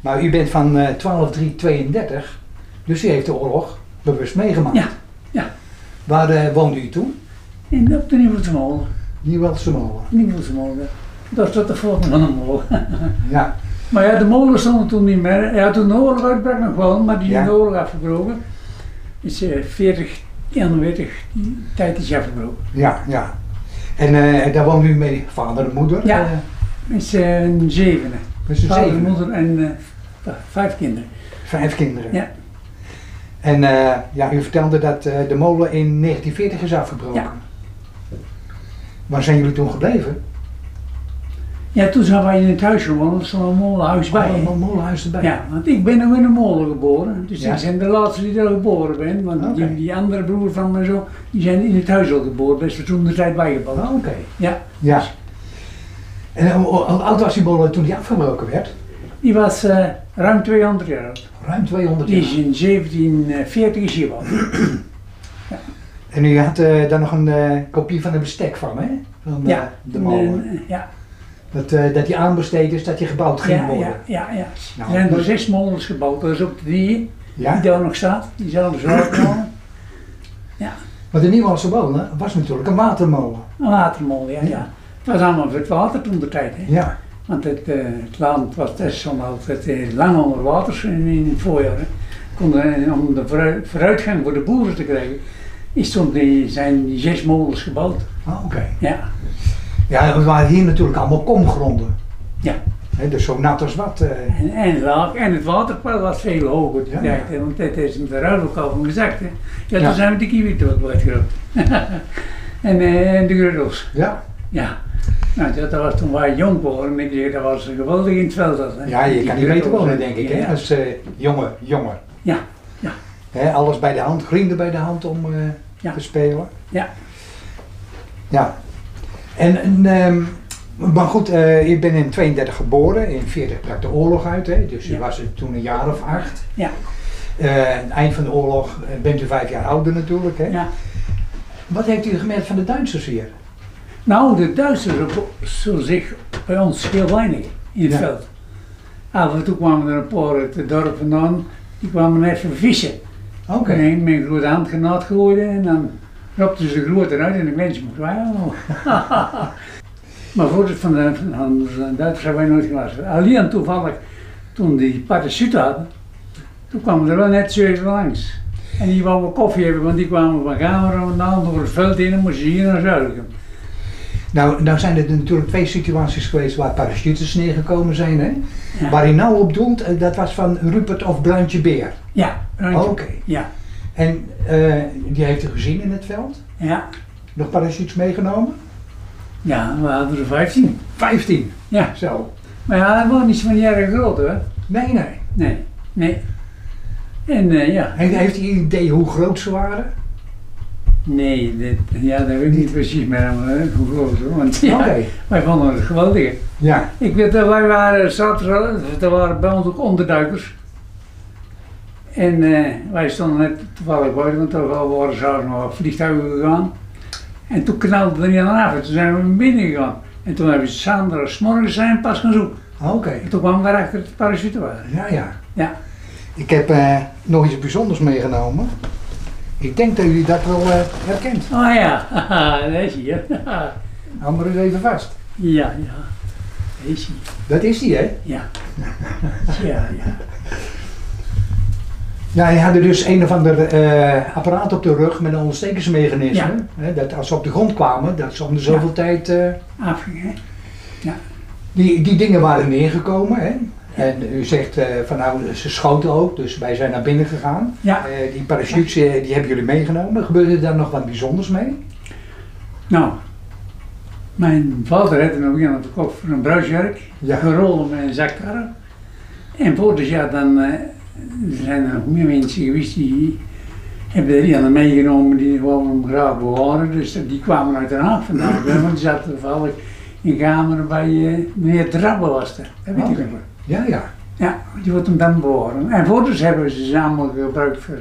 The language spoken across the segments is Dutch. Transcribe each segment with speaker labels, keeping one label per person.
Speaker 1: Maar u bent van eh 12 3, 32 dus u heeft de oorlog bewust meegemaakt.
Speaker 2: Ja, ja.
Speaker 1: Waar eh, woonde u toen?
Speaker 2: In, op de Nieuwelse Molen.
Speaker 1: Nieuwelse Molen.
Speaker 2: Nieuwelse Molen. Dat zat de volgende van een molen.
Speaker 1: Ja,
Speaker 2: Maar ja, de molen stond toen niet meer. Ja, toen de oorlog uitbrak nog wel, maar die is
Speaker 1: Ja.
Speaker 2: in de oorlog afgebroken. Is eh, 40, 41, die tijd is afgebroken.
Speaker 1: ja, ja. En eh, daar woonde u mee, vader en moeder?
Speaker 2: Ja.
Speaker 1: Eh,
Speaker 2: Is eh, een zevende.
Speaker 1: met z'n
Speaker 2: Vader,
Speaker 1: zevenen.
Speaker 2: moeder en eh, v- vijf kinderen.
Speaker 1: Vijf kinderen.
Speaker 2: Ja.
Speaker 1: En eh, ja, u vertelde dat eh, de molen in 1940 is afgebroken.
Speaker 2: Ja.
Speaker 1: Waar zijn jullie toen gebleven?
Speaker 2: Ja, toen zijn wij in het huis gewoond, er stond een molenhuis bij.
Speaker 1: Oh, een molenhuis erbij.
Speaker 2: Ja, want ik ben nog in een molen geboren. Dus
Speaker 1: Ja.
Speaker 2: ik ben de laatste die daar geboren ben. Want
Speaker 1: Oké.
Speaker 2: die, die andere broer van me zo, die zijn in het huis al geboren. Best wel toen de tijd bijgebouwd.
Speaker 1: Oh, Oké.
Speaker 2: Ja,
Speaker 1: Ja. En eh, hoe hoe oud was die molen toen die afgebroken werd?
Speaker 2: die was eh, ruim 200 jaar oud.
Speaker 1: Ruim 200
Speaker 2: Die is
Speaker 1: jaar.
Speaker 2: in 1740 is hier wel.
Speaker 1: En u had eh, daar nog een eh, kopie van een bestek van, hè? Van eh,
Speaker 2: Ja.
Speaker 1: de molen.
Speaker 2: Eh, ja,
Speaker 1: Dat, eh, dat die aanbesteed is, dat die gebouwd ging
Speaker 2: ja,
Speaker 1: worden.
Speaker 2: ja, ja, ja.
Speaker 1: Nou,
Speaker 2: er zijn
Speaker 1: dat-
Speaker 2: er zes molens gebouwd. Dat is ook die,
Speaker 1: Ja?
Speaker 2: die daar nog staat. Die zelfs watermolen.
Speaker 1: Want de Nieuwlandse molen was natuurlijk een watermolen.
Speaker 2: Een watermolen, ja, ja. Het was allemaal voor het water toen de tijd. Hè.
Speaker 1: Ja.
Speaker 2: Want het, eh, het land was desondanks altijd eh, lang onder water in, in het voorjaar. hè. Konden, eh, om de vooru- vooruitgang voor de boeren te krijgen, is toen die, zijn die zes molens gebouwd.
Speaker 1: Ah, Oké.
Speaker 2: Ja,
Speaker 1: Ja, het waren hier natuurlijk allemaal komgronden.
Speaker 2: Ja.
Speaker 1: Hè, dus zo nat als wat. eh,
Speaker 2: en, en laag. En het waterpeil was veel hoger.
Speaker 1: Ja,
Speaker 2: Ja,
Speaker 1: ja.
Speaker 2: Want het is met de ruilhoek al van gezakt. Hè. Ja,
Speaker 1: Ja.
Speaker 2: toen zijn we de kiwi tot wat groot. en, eh, en de gruddels.
Speaker 1: ja.
Speaker 2: Ja. Nou, dat was toen wij jong waren. ik zeg, Dat was geweldig in het veld. dat, hè.
Speaker 1: ja, je
Speaker 2: Die
Speaker 1: kan niet beter
Speaker 2: gruddels,
Speaker 1: wonen,
Speaker 2: hè.
Speaker 1: denk ik,
Speaker 2: Ja,
Speaker 1: hè? Als eh, jongen, jongen.
Speaker 2: Ja, ja.
Speaker 1: Hè, alles bij de hand, vrienden bij de hand om eh,
Speaker 2: Ja.
Speaker 1: te spelen.
Speaker 2: Ja.
Speaker 1: Ja. En, en, ehm, maar goed, eh ik ben in 32 geboren, in 40 brak de oorlog uit, hè? dus u
Speaker 2: Ja.
Speaker 1: was er toen een jaar of acht.
Speaker 2: Ja.
Speaker 1: Eh, aan het eind van de oorlog eh, bent u vijf jaar ouder natuurlijk. Hè?
Speaker 2: ja.
Speaker 1: Wat heeft u gemerkt van de Duitsers hier?
Speaker 2: Nou, de Duitsers zo zich bij ons heel weinig in het
Speaker 1: Ja.
Speaker 2: veld. Af en toe kwamen er een paar uit het dorp vandaan, die kwamen even vissen.
Speaker 1: Oké.
Speaker 2: Nee, mijn grote handgenaad gooide en dan ropten ze de grote eruit en de mensen moest wijlen. maar voor het van de, van de Duitsers hebben wij nooit gelaten. Alleen toevallig, toen die parachute hadden, toen kwamen er wel net zeven langs. En die wouden koffie hebben, want die kwamen van Gameren vandaan door het veld in en moesten ze hier naar Zuilichem.
Speaker 1: Nou, nou zijn er natuurlijk twee situaties geweest waar parachutes neergekomen zijn. Hè?
Speaker 2: Ja.
Speaker 1: Waar u nou op doelt, eh, dat was van Rupert of Bruintje Beer.
Speaker 2: Ja,
Speaker 1: Oké.
Speaker 2: randje. Ja,
Speaker 1: En eh, die heeft u gezien in het veld?
Speaker 2: ja,
Speaker 1: Nog parachutes meegenomen?
Speaker 2: ja, we hadden er 15.
Speaker 1: 15.
Speaker 2: Ja.
Speaker 1: Zo.
Speaker 2: Maar ja, dat was niet van jaren groot hoor.
Speaker 1: Nee, nee.
Speaker 2: Nee, nee. En eh, ja,
Speaker 1: Heeft, heeft hij een idee hoe groot ze waren?
Speaker 2: nee, dit, ja, dat weet ik niet precies meer helemaal, hè, hoe groot hoor. Want ja,
Speaker 1: Oké.
Speaker 2: wij vonden het geweldig.
Speaker 1: Ja.
Speaker 2: Ik weet dat wij waren zaterdag, eh, er waren bij ons ook onderduikers. En eh, wij stonden net toevallig buiten, want er waren zaterdag nog op vliegtuigen gegaan. En toen knalde er niet aan af en toen zijn we binnen gegaan. En toen hebben we zaterdagsmorgens zijn pas gaan zoeken.
Speaker 1: Oké.
Speaker 2: En toen kwam daar achter het parachute waren.
Speaker 1: Ja, ja.
Speaker 2: Ja.
Speaker 1: Ik heb eh, nog iets bijzonders meegenomen. Ik denk dat jullie dat wel eh, herkent.
Speaker 2: Oh ja, haha, daar is hij. hè.
Speaker 1: Hou maar eens even vast.
Speaker 2: Ja, ja. Daar is hij.
Speaker 1: Dat is die, hè?
Speaker 2: Ja. Ja, ja.
Speaker 1: Ja, hij had er dus een of ander eh, apparaat op de rug met een ontstekingsmechanisme. Hè, dat als ze op de grond kwamen, dat ze om de zoveel tijd... eh,
Speaker 2: Afging, hè?
Speaker 1: die, die dingen waren neergekomen. Hè? En u zegt eh, van nou, ze schoten ook, dus wij zijn naar binnen gegaan.
Speaker 2: Ja.
Speaker 1: Eh, die parachutes, eh, die hebben jullie meegenomen. Gebeurde daar nog wat bijzonders mee?
Speaker 2: Nou, mijn vader had nog iemand verkocht voor een bruisjurk.
Speaker 1: Ja.
Speaker 2: Gerollen met een zakkarren. En vorig jaar dan eh, zijn er nog meer mensen geweest die hebben er iemand meegenomen die gewoon hem graag bewaren. Dus die kwamen uit Den Haag vandaag. Want die zaten toevallig in kamer bij eh, meneer Drabbe was er. Dat weet ik
Speaker 1: Oké.
Speaker 2: nog wel.
Speaker 1: Ja, ja.
Speaker 2: Ja, die wordt hem dan behoren. En foto's hebben ze ze allemaal gebruikt voor eh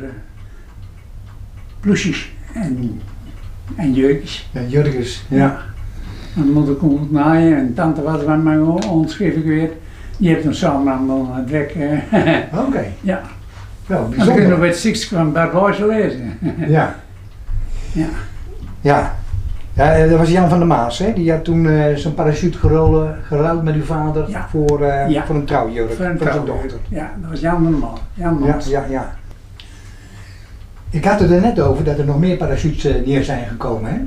Speaker 2: bloesjes en, en jeukjes.
Speaker 1: Ja, Jurgis. Ja.
Speaker 2: Mijn moeder kon goed naaien en tante was bij mij onschriftelijk weer. Je hebt hem samen allemaal aan het werk. eh,
Speaker 1: Oké,
Speaker 2: ja.
Speaker 1: wel
Speaker 2: En dan kun je nog
Speaker 1: bijzonder.
Speaker 2: bij het Six van Bart Boysen lezen.
Speaker 1: Ja.
Speaker 2: Ja.
Speaker 1: Ja. ja. eh, Dat was Jan van der Maas, hè? Die had toen eh, zijn parachute gerol- geruild met uw vader
Speaker 2: Ja.
Speaker 1: voor, eh,
Speaker 2: Ja.
Speaker 1: voor een trouwjurk
Speaker 2: Voor een
Speaker 1: van zijn
Speaker 2: trouwjurk.
Speaker 1: dochter.
Speaker 2: Ja, dat was Jan van Mal. Jan
Speaker 1: Ja,
Speaker 2: Mans.
Speaker 1: ja, ja. Ik had het er net over dat er nog meer parachutes eh, neer zijn gekomen. Hè?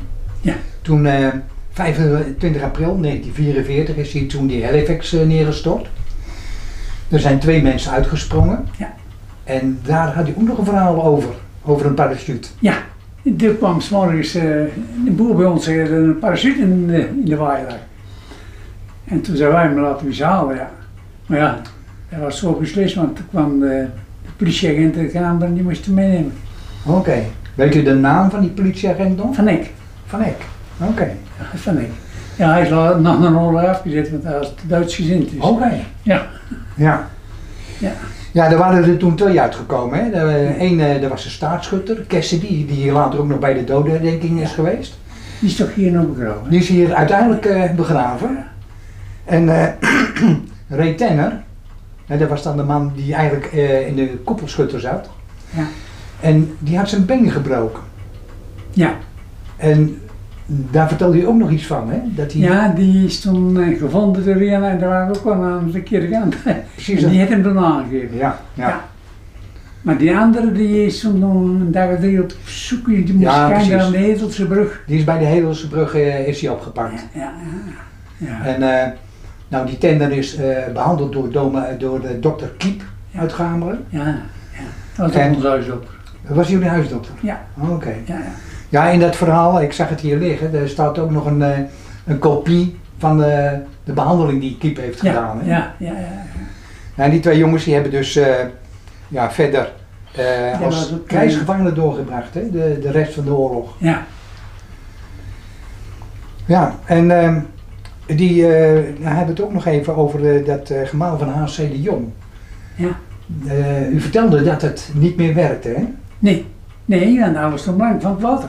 Speaker 2: Ja.
Speaker 1: Toen eh, 25 april 1944 is hier toen die Halifax eh, neergestort. Er zijn twee mensen uitgesprongen.
Speaker 2: Ja.
Speaker 1: En daar had hij ook nog een verhaal over, over een parachute.
Speaker 2: Ja, er kwam s'morgens eh een boer bij ons eh, een parasiet in de, in de waaier lag. En toen zijn wij hem laten eens halen, ja. Maar ja, dat was zo beslist, want toen kwam de, de politieagent in de kamer en die moest hem meenemen.
Speaker 1: Oké. Weet u de naam van die politieagent nog?
Speaker 2: Van ik,
Speaker 1: Van Eck. Oké.
Speaker 2: van ik. Ja, hij is la- nog een oorlog afgezet, want hij was te Duits gezind. Dus.
Speaker 1: Oké.
Speaker 2: Ja.
Speaker 1: Ja.
Speaker 2: Ja.
Speaker 1: Ja, er waren er toen twee uitgekomen. Hè. Eén, er was een staatsschutter, Cassidy, die hier later ook nog bij de dodenherdenking is geweest.
Speaker 2: Die is toch hier nog begraven?
Speaker 1: Die is hier uiteindelijk eh, begraven. En eh Ray Tanner, hè, dat was dan de man die eigenlijk eh, in de koppelschutter zat.
Speaker 2: Ja.
Speaker 1: En die had zijn been gebroken.
Speaker 2: Ja.
Speaker 1: En daar vertelde je ook nog iets van, hè? Dat hij
Speaker 2: Ja, die is toen eh, gevonden door Rihanna en daar waren we ook wel aan de verkeerde kant.
Speaker 1: precies...
Speaker 2: Die heeft hem toen aangegeven.
Speaker 1: Ja, ja.
Speaker 2: Ja. Maar die andere die is toen nog een dag of drie op zoek, die moest
Speaker 1: Ja,
Speaker 2: kijken
Speaker 1: precies.
Speaker 2: aan de Hedelse brug.
Speaker 1: Die is bij de Hedelse brug eh, is hij opgepakt.
Speaker 2: Ja, ja. ja.
Speaker 1: En eh, nou, die Tanner is eh, behandeld door, dome, eh, door de dokter Kiep
Speaker 2: Ja.
Speaker 1: uit Gameren.
Speaker 2: ja. ja. Dat was
Speaker 1: En-
Speaker 2: ook ons huis op.
Speaker 1: Was jullie huisdokter? Oh,
Speaker 2: Ja.
Speaker 1: Oké.
Speaker 2: Ja, ja.
Speaker 1: Ja, in dat verhaal, ik zag het hier liggen, er staat ook nog een, eh, een kopie van de, de behandeling die Kiep heeft gedaan.
Speaker 2: Ja,
Speaker 1: Hè?
Speaker 2: ja, ja, ja.
Speaker 1: En die twee jongens die hebben dus eh, ja, verder eh,
Speaker 2: Ja,
Speaker 1: als
Speaker 2: dat is ook-
Speaker 1: krijgsgevangenen doorgebracht, hè? De, de rest van de oorlog.
Speaker 2: ja.
Speaker 1: Ja, en ehm, die eh, nou, hebben het ook nog even over eh, dat eh, gemaal van H.C. de Jong.
Speaker 2: Ja.
Speaker 1: Eh, u vertelde dat het niet meer werkte, hè?
Speaker 2: Nee, nee, en dat was toen blank van het water.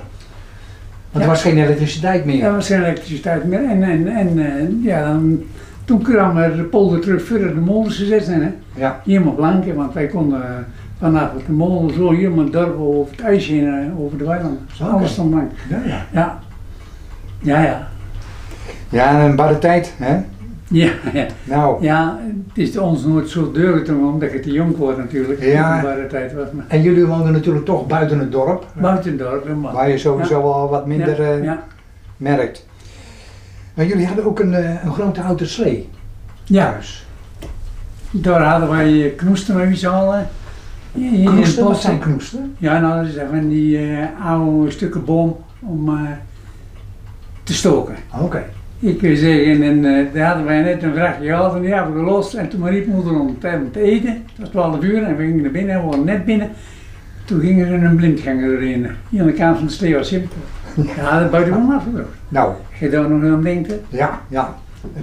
Speaker 1: Want er
Speaker 2: Ja.
Speaker 1: was geen elektriciteit meer.
Speaker 2: Dat was geen elektriciteit meer. En, en, en eh, ja, dan, toen kwam er de polder terug verder de molens gezet zijn. Hè.
Speaker 1: Ja.
Speaker 2: Helemaal blank, hè, want wij konden eh, vanaf de molen zo helemaal het dorp over het ijsje heen, eh, over de weilanden.
Speaker 1: Oké.
Speaker 2: Alles stond blank.
Speaker 1: Ja, ja.
Speaker 2: Ja. Ja, ja.
Speaker 1: ja, een barre tijd, hè?
Speaker 2: Ja, ja.
Speaker 1: Nou,
Speaker 2: ja, het is ons nooit zo deugd omdat je te jong wordt natuurlijk.
Speaker 1: Ja.
Speaker 2: Waar de tijd was. Maar
Speaker 1: en jullie woonden natuurlijk toch buiten het dorp.
Speaker 2: buiten het dorp, maar.
Speaker 1: Waar je sowieso al wat minder
Speaker 2: ja,
Speaker 1: eh,
Speaker 2: ja.
Speaker 1: merkt. Nou, jullie hadden ook een, eh, een grote houten slee
Speaker 2: ja,
Speaker 1: thuis.
Speaker 2: daar hadden wij eh, knoesten met wie allen. Hier in het
Speaker 1: Knoesten, wat
Speaker 2: bos.
Speaker 1: zijn knoesten?
Speaker 2: Ja, nou, dat zijn van die eh, oude stukken boom om eh, te stoken.
Speaker 1: Oké.
Speaker 2: Ik wil zeggen, en eh, daar hadden wij net een vrachtje gehad en die hebben we gelost. En toen riep moeder om tijd om te eten. Het was 12 uur en we gingen naar binnen, we waren net binnen. Toen ging er een blindganger erin. Hier aan de kant van de slee was simpel. Ja, dat buitengewoon afgebracht.
Speaker 1: Nou,
Speaker 2: Je daar nog aan denkt. hè?
Speaker 1: ja, ja.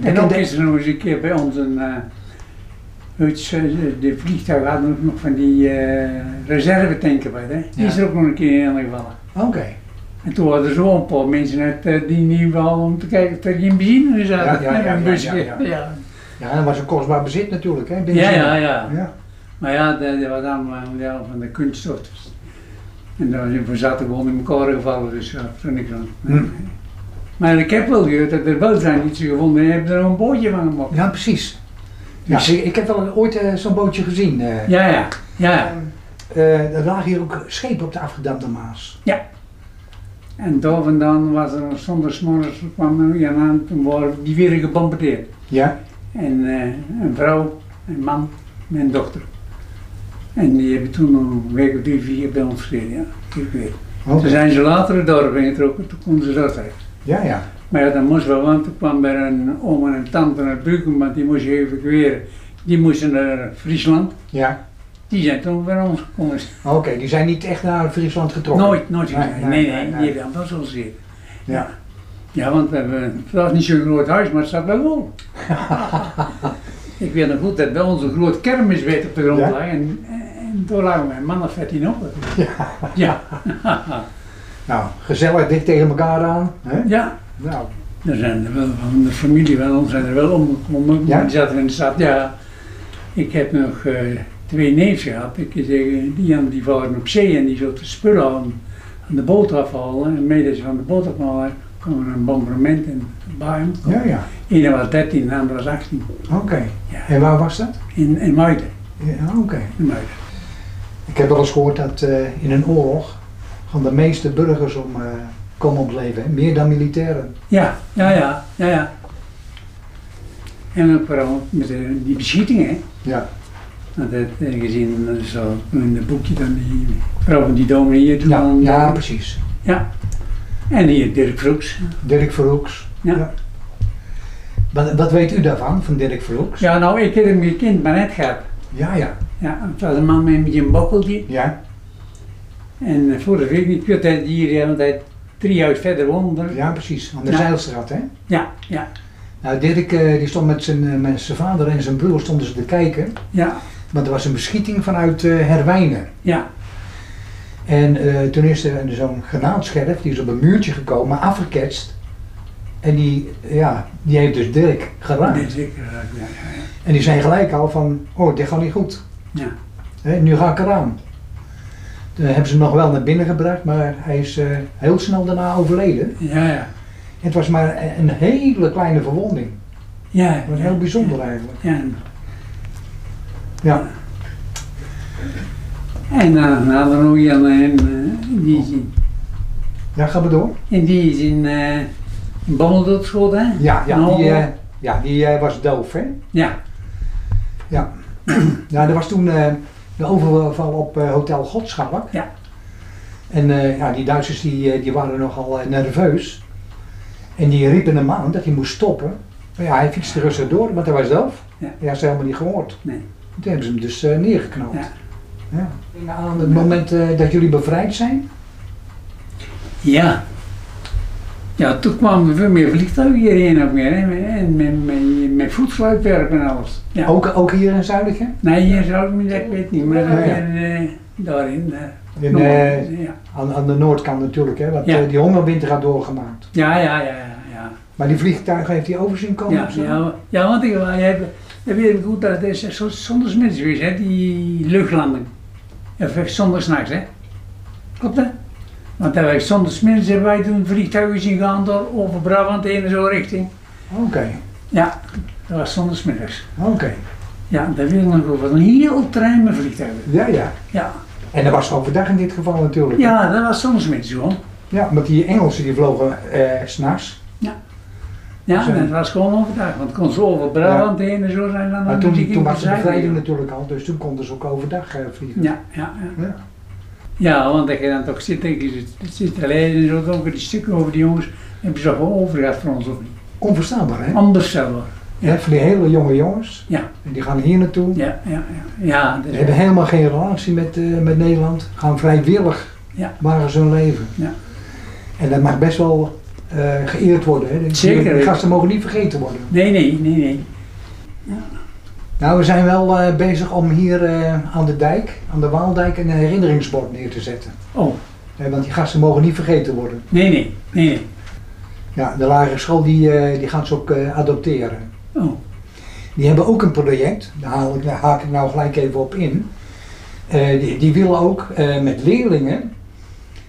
Speaker 2: En ook
Speaker 1: Bekende-
Speaker 2: is er nog eens een keer bij ons een. eh het, eh, de vliegtuigen hadden ook nog van die eh reservetanken bij, hè? Die is
Speaker 1: Ja.
Speaker 2: er ook nog een keer aangevallen.
Speaker 1: Oké.
Speaker 2: En toen hadden er zo'n paar mensen uit eh, die niet wel om te kijken of er geen benzine in zat.
Speaker 1: Ja, ja, ja,
Speaker 2: Een
Speaker 1: ja,
Speaker 2: busje.
Speaker 1: ja, ja. Ja, dat was een kostbaar bezit natuurlijk, hè?
Speaker 2: Ja,
Speaker 1: benzine.
Speaker 2: ja, ja.
Speaker 1: ja.
Speaker 2: Maar ja, dat, dat was allemaal eh, ja, van de kunststof. dus. En dan, we zaten gewoon in elkaar gevallen, dus ja, toen ik dan.
Speaker 1: Hm.
Speaker 2: Maar ik heb wel gehoord dat er wel zijn iets gevonden en hebben er een bootje van gemaakt.
Speaker 1: Ja, precies. Ja,
Speaker 2: Dus-
Speaker 1: ik, ik heb wel ooit eh, zo'n bootje gezien. eh.
Speaker 2: Ja, ja, ja.
Speaker 1: Eh, er lagen hier ook schepen op de afgedamde Maas.
Speaker 2: En daar vandaan was er zonder smorgens kwam er weer aan, toen waren die weer gebombardeerd.
Speaker 1: Ja?
Speaker 2: En eh, een vrouw, een man, mijn dochter. En die hebben toen nog een week of drie, vier bij ons gezeten, ja. Ik weet.
Speaker 1: Oké.
Speaker 2: Toen zijn ze later het dorp ingetrokken, toen konden ze dat uit.
Speaker 1: Ja, ja.
Speaker 2: Maar ja, dat moest wel, want toen kwam er een oom en een tante uit Bruegem, want die moesten evacueren. Die moesten naar Friesland.
Speaker 1: Ja.
Speaker 2: Die zijn toen bij ons gekomen.
Speaker 1: Oké, die zijn niet echt naar Friesland getrokken.
Speaker 2: Nooit, nooit
Speaker 1: Nee,
Speaker 2: gezien. Nee,
Speaker 1: nee,
Speaker 2: nee,
Speaker 1: nee, nee.
Speaker 2: die hebben dat wel gezien.
Speaker 1: Ja.
Speaker 2: Ja, want we hebben, het was niet zo'n groot huis, maar het staat wel vol. Ik weet nog goed dat bij ons een groot kermis weet op de grond
Speaker 1: Ja?
Speaker 2: lag. En, en toen lagen mijn man of 14 op. Ja. Ja.
Speaker 1: Nou, gezellig dicht tegen elkaar aan. Hè?
Speaker 2: ja.
Speaker 1: Nou,
Speaker 2: Er zijn er wel van de familie wel, ons zijn er wel omgekomen. maar
Speaker 1: Ja?
Speaker 2: Die zaten in de stad, ja. Ik heb nog eh, twee neefs gehad. Ik kan zeggen, die aan die waren op zee en die zouden spullen aan, aan de boot afhalen. En mede van de boot afhalen kwam er een bombardement in Baarn.
Speaker 1: Ja, ja.
Speaker 2: Eén was 13, de andere was 18.
Speaker 1: Oké.
Speaker 2: Ja.
Speaker 1: En waar was dat?
Speaker 2: In, in Muiden.
Speaker 1: Ja, oké.
Speaker 2: In Muiden.
Speaker 1: Ik heb wel eens gehoord dat eh, in een oorlog gaan de meeste burgers om eh, komen om het leven, hè? meer dan militairen.
Speaker 2: Ja, ja, ja, ja, ja. En ook vooral met de, die beschietingen. hè.
Speaker 1: Ja.
Speaker 2: Want dat heb je gezien eh, zo in het boekje dan die vrouw van die dominee toen.
Speaker 1: Ja,
Speaker 2: aan-
Speaker 1: ja precies.
Speaker 2: ja. En hier Dirk Vroeks.
Speaker 1: Dirk Verhoeks.
Speaker 2: Ja.
Speaker 1: Wat, wat weet u daarvan, van Dirk Verhoeks?
Speaker 2: Ja, nou, ik heb hem gekend, maar net gehad.
Speaker 1: Ja, ja.
Speaker 2: Ja, het was een man met een beetje een bokkeltje.
Speaker 1: Ja,
Speaker 2: En eh, vorige week niet kut, hij hier, eh, want hij drie huis verder woonde.
Speaker 1: ja precies. Aan de
Speaker 2: Ja.
Speaker 1: Zeilstraat, hè?
Speaker 2: ja, ja.
Speaker 1: Nou, Dirk eh, die stond met zijn, eh, met zijn vader en zijn broer stonden ze te kijken.
Speaker 2: ja.
Speaker 1: Want er was een beschieting vanuit eh, Herwijnen.
Speaker 2: ja.
Speaker 1: En eh, toen is er zo'n granaatscherf, die is op een muurtje gekomen, maar afgeketst. En die, ja, die heeft dus Dirk geraakt.
Speaker 2: Nee, zeker. Ja, ja, ja.
Speaker 1: En die zijn gelijk al van, oh, dit gaat niet goed.
Speaker 2: Ja.
Speaker 1: Hè, nu ga ik eraan. Toen hebben ze hem nog wel naar binnen gebracht, maar hij is eh, heel snel daarna overleden.
Speaker 2: Ja, ja.
Speaker 1: Het was maar e-, een- een hele kleine verwonding.
Speaker 2: Ja,
Speaker 1: Wat heel bijzonder eigenlijk.
Speaker 2: Ja.
Speaker 1: Ja,
Speaker 2: En dan hadden we nog Jan en eh, die is in,
Speaker 1: ja ga maar door.
Speaker 2: en die is in eh, in Bommel doodgeschoten, hè?
Speaker 1: Ja, ja
Speaker 2: Nou,
Speaker 1: die, eh, ja, die eh, was doof, hè?
Speaker 2: ja.
Speaker 1: Ja. ja, er was toen eh, de overval op eh, Hotel Godschalk.
Speaker 2: Ja.
Speaker 1: En eh, ja, die Duitsers die, eh, die waren nogal eh, nerveus. En die riepen hem aan dat hij moest stoppen. Maar ja, hij fietste rustig door, want hij was zelf.
Speaker 2: Ja.
Speaker 1: Hij had ze helemaal niet gehoord.
Speaker 2: Nee.
Speaker 1: Toen hebben ze hem dus eh, neergeknald.
Speaker 2: Ja.
Speaker 1: Ja. En Aan het moment eh, dat jullie bevrijd zijn?
Speaker 2: Ja. Ja, toen kwamen er veel meer vliegtuigen hierheen ook meer, hè? En met, met, met voetsluitwerk en alles. Ja.
Speaker 1: Ook, ook hier in Zuidige?
Speaker 2: Nee, hier zou ik niet, ik weet niet, maar
Speaker 1: Oh. Ja, ja.
Speaker 2: eh, eh, daarin. eh,
Speaker 1: In,
Speaker 2: nog-
Speaker 1: eh,
Speaker 2: ja.
Speaker 1: aan, aan de noordkant natuurlijk, hè? want
Speaker 2: Ja.
Speaker 1: eh, die hongerwinter had doorgemaakt.
Speaker 2: ja, ja, ja, ja. ja.
Speaker 1: Maar die vliegtuigen heeft hij overzien komen?
Speaker 2: Ja,
Speaker 1: of zo?
Speaker 2: ja, ja, want ik je hebt- je weet goed dat het is eh, zo- zonder smiddags geweest, hè, die luchtlanding. Of eh, zonder s'nachts, hè? Klopt dat? Want dat wij zonder smiddags hebben wij toen vliegtuigen zien gaan door over Brabant heen en zo richting.
Speaker 1: Oké,
Speaker 2: Ja, dat was zonder smiddags.
Speaker 1: oké.
Speaker 2: Ja, dat wil ik nog over. Een heel trein met vliegtuigen.
Speaker 1: Ja, ja.
Speaker 2: Ja,
Speaker 1: En dat was overdag in dit geval natuurlijk.
Speaker 2: ja dat was zonder smiddags gewoon.
Speaker 1: Ja, want die Engelsen die vlogen eh s'nachts.
Speaker 2: Ja,
Speaker 1: Zo.
Speaker 2: dat was gewoon overdag, want het kon zo over Brabant heen en zo zijn dan
Speaker 1: Maar
Speaker 2: dan
Speaker 1: toen,
Speaker 2: muziek in
Speaker 1: toen was de
Speaker 2: zijde.
Speaker 1: bevrijding natuurlijk al, dus toen konden ze ook overdag eh, vliegen.
Speaker 2: Ja, ja, ja.
Speaker 1: Ja.
Speaker 2: Ja, want dat je dan toch zit, denk je, het zit te lijden en zo, over die stukken over die jongens, hebben ze gewoon overgehad voor ons of niet.
Speaker 1: Onverstaanbaar, hè?
Speaker 2: Anders zelf.
Speaker 1: Ja, voor die hele jonge jongens.
Speaker 2: Oh. Ja.
Speaker 1: En die gaan hier naartoe.
Speaker 2: Ja, ja, ja. Ja, dat
Speaker 1: Ze
Speaker 2: is-
Speaker 1: hebben helemaal geen relatie met, eh, met Nederland. Gaan vrijwillig
Speaker 2: Ja.
Speaker 1: wagen ze hun leven.
Speaker 2: Ja.
Speaker 1: En dat mag best wel eh, geëerd worden. Hè? Die-
Speaker 2: Zeker.
Speaker 1: Die gasten mogen niet vergeten worden.
Speaker 2: Nee, nee, nee, nee.
Speaker 1: Nou, we zijn wel eh, bezig om hier eh, aan de dijk, aan de Waaldijk, een herinneringsbord neer te zetten.
Speaker 2: Oh,
Speaker 1: Hè, Eh, want die gasten mogen niet vergeten worden.
Speaker 2: nee, nee, nee, nee.
Speaker 1: Ja, de lagere school die, eh, die gaan ze ook eh, adopteren.
Speaker 2: Oh,
Speaker 1: Die hebben ook een project, daar, haal ik, daar haak ik nou gelijk even op in. Eh, die, die willen ook eh, met leerlingen,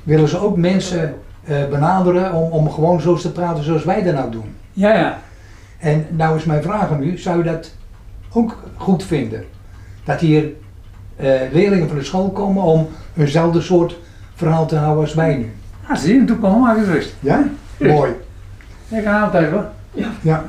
Speaker 1: willen ze ook mensen eh, benaderen om, om gewoon zo te praten zoals wij dat nou doen.
Speaker 2: ja, ja.
Speaker 1: En nou is mijn vraag aan u, zou u dat ook goed vinden? Dat hier eh, leerlingen van de school komen om eenzelfde soort verhaal te houden als wij nu.
Speaker 2: Als ze hier naartoe komen, maak het rust.
Speaker 1: Ja? Mooi.
Speaker 2: Ik ga altijd hoor.
Speaker 1: Ja.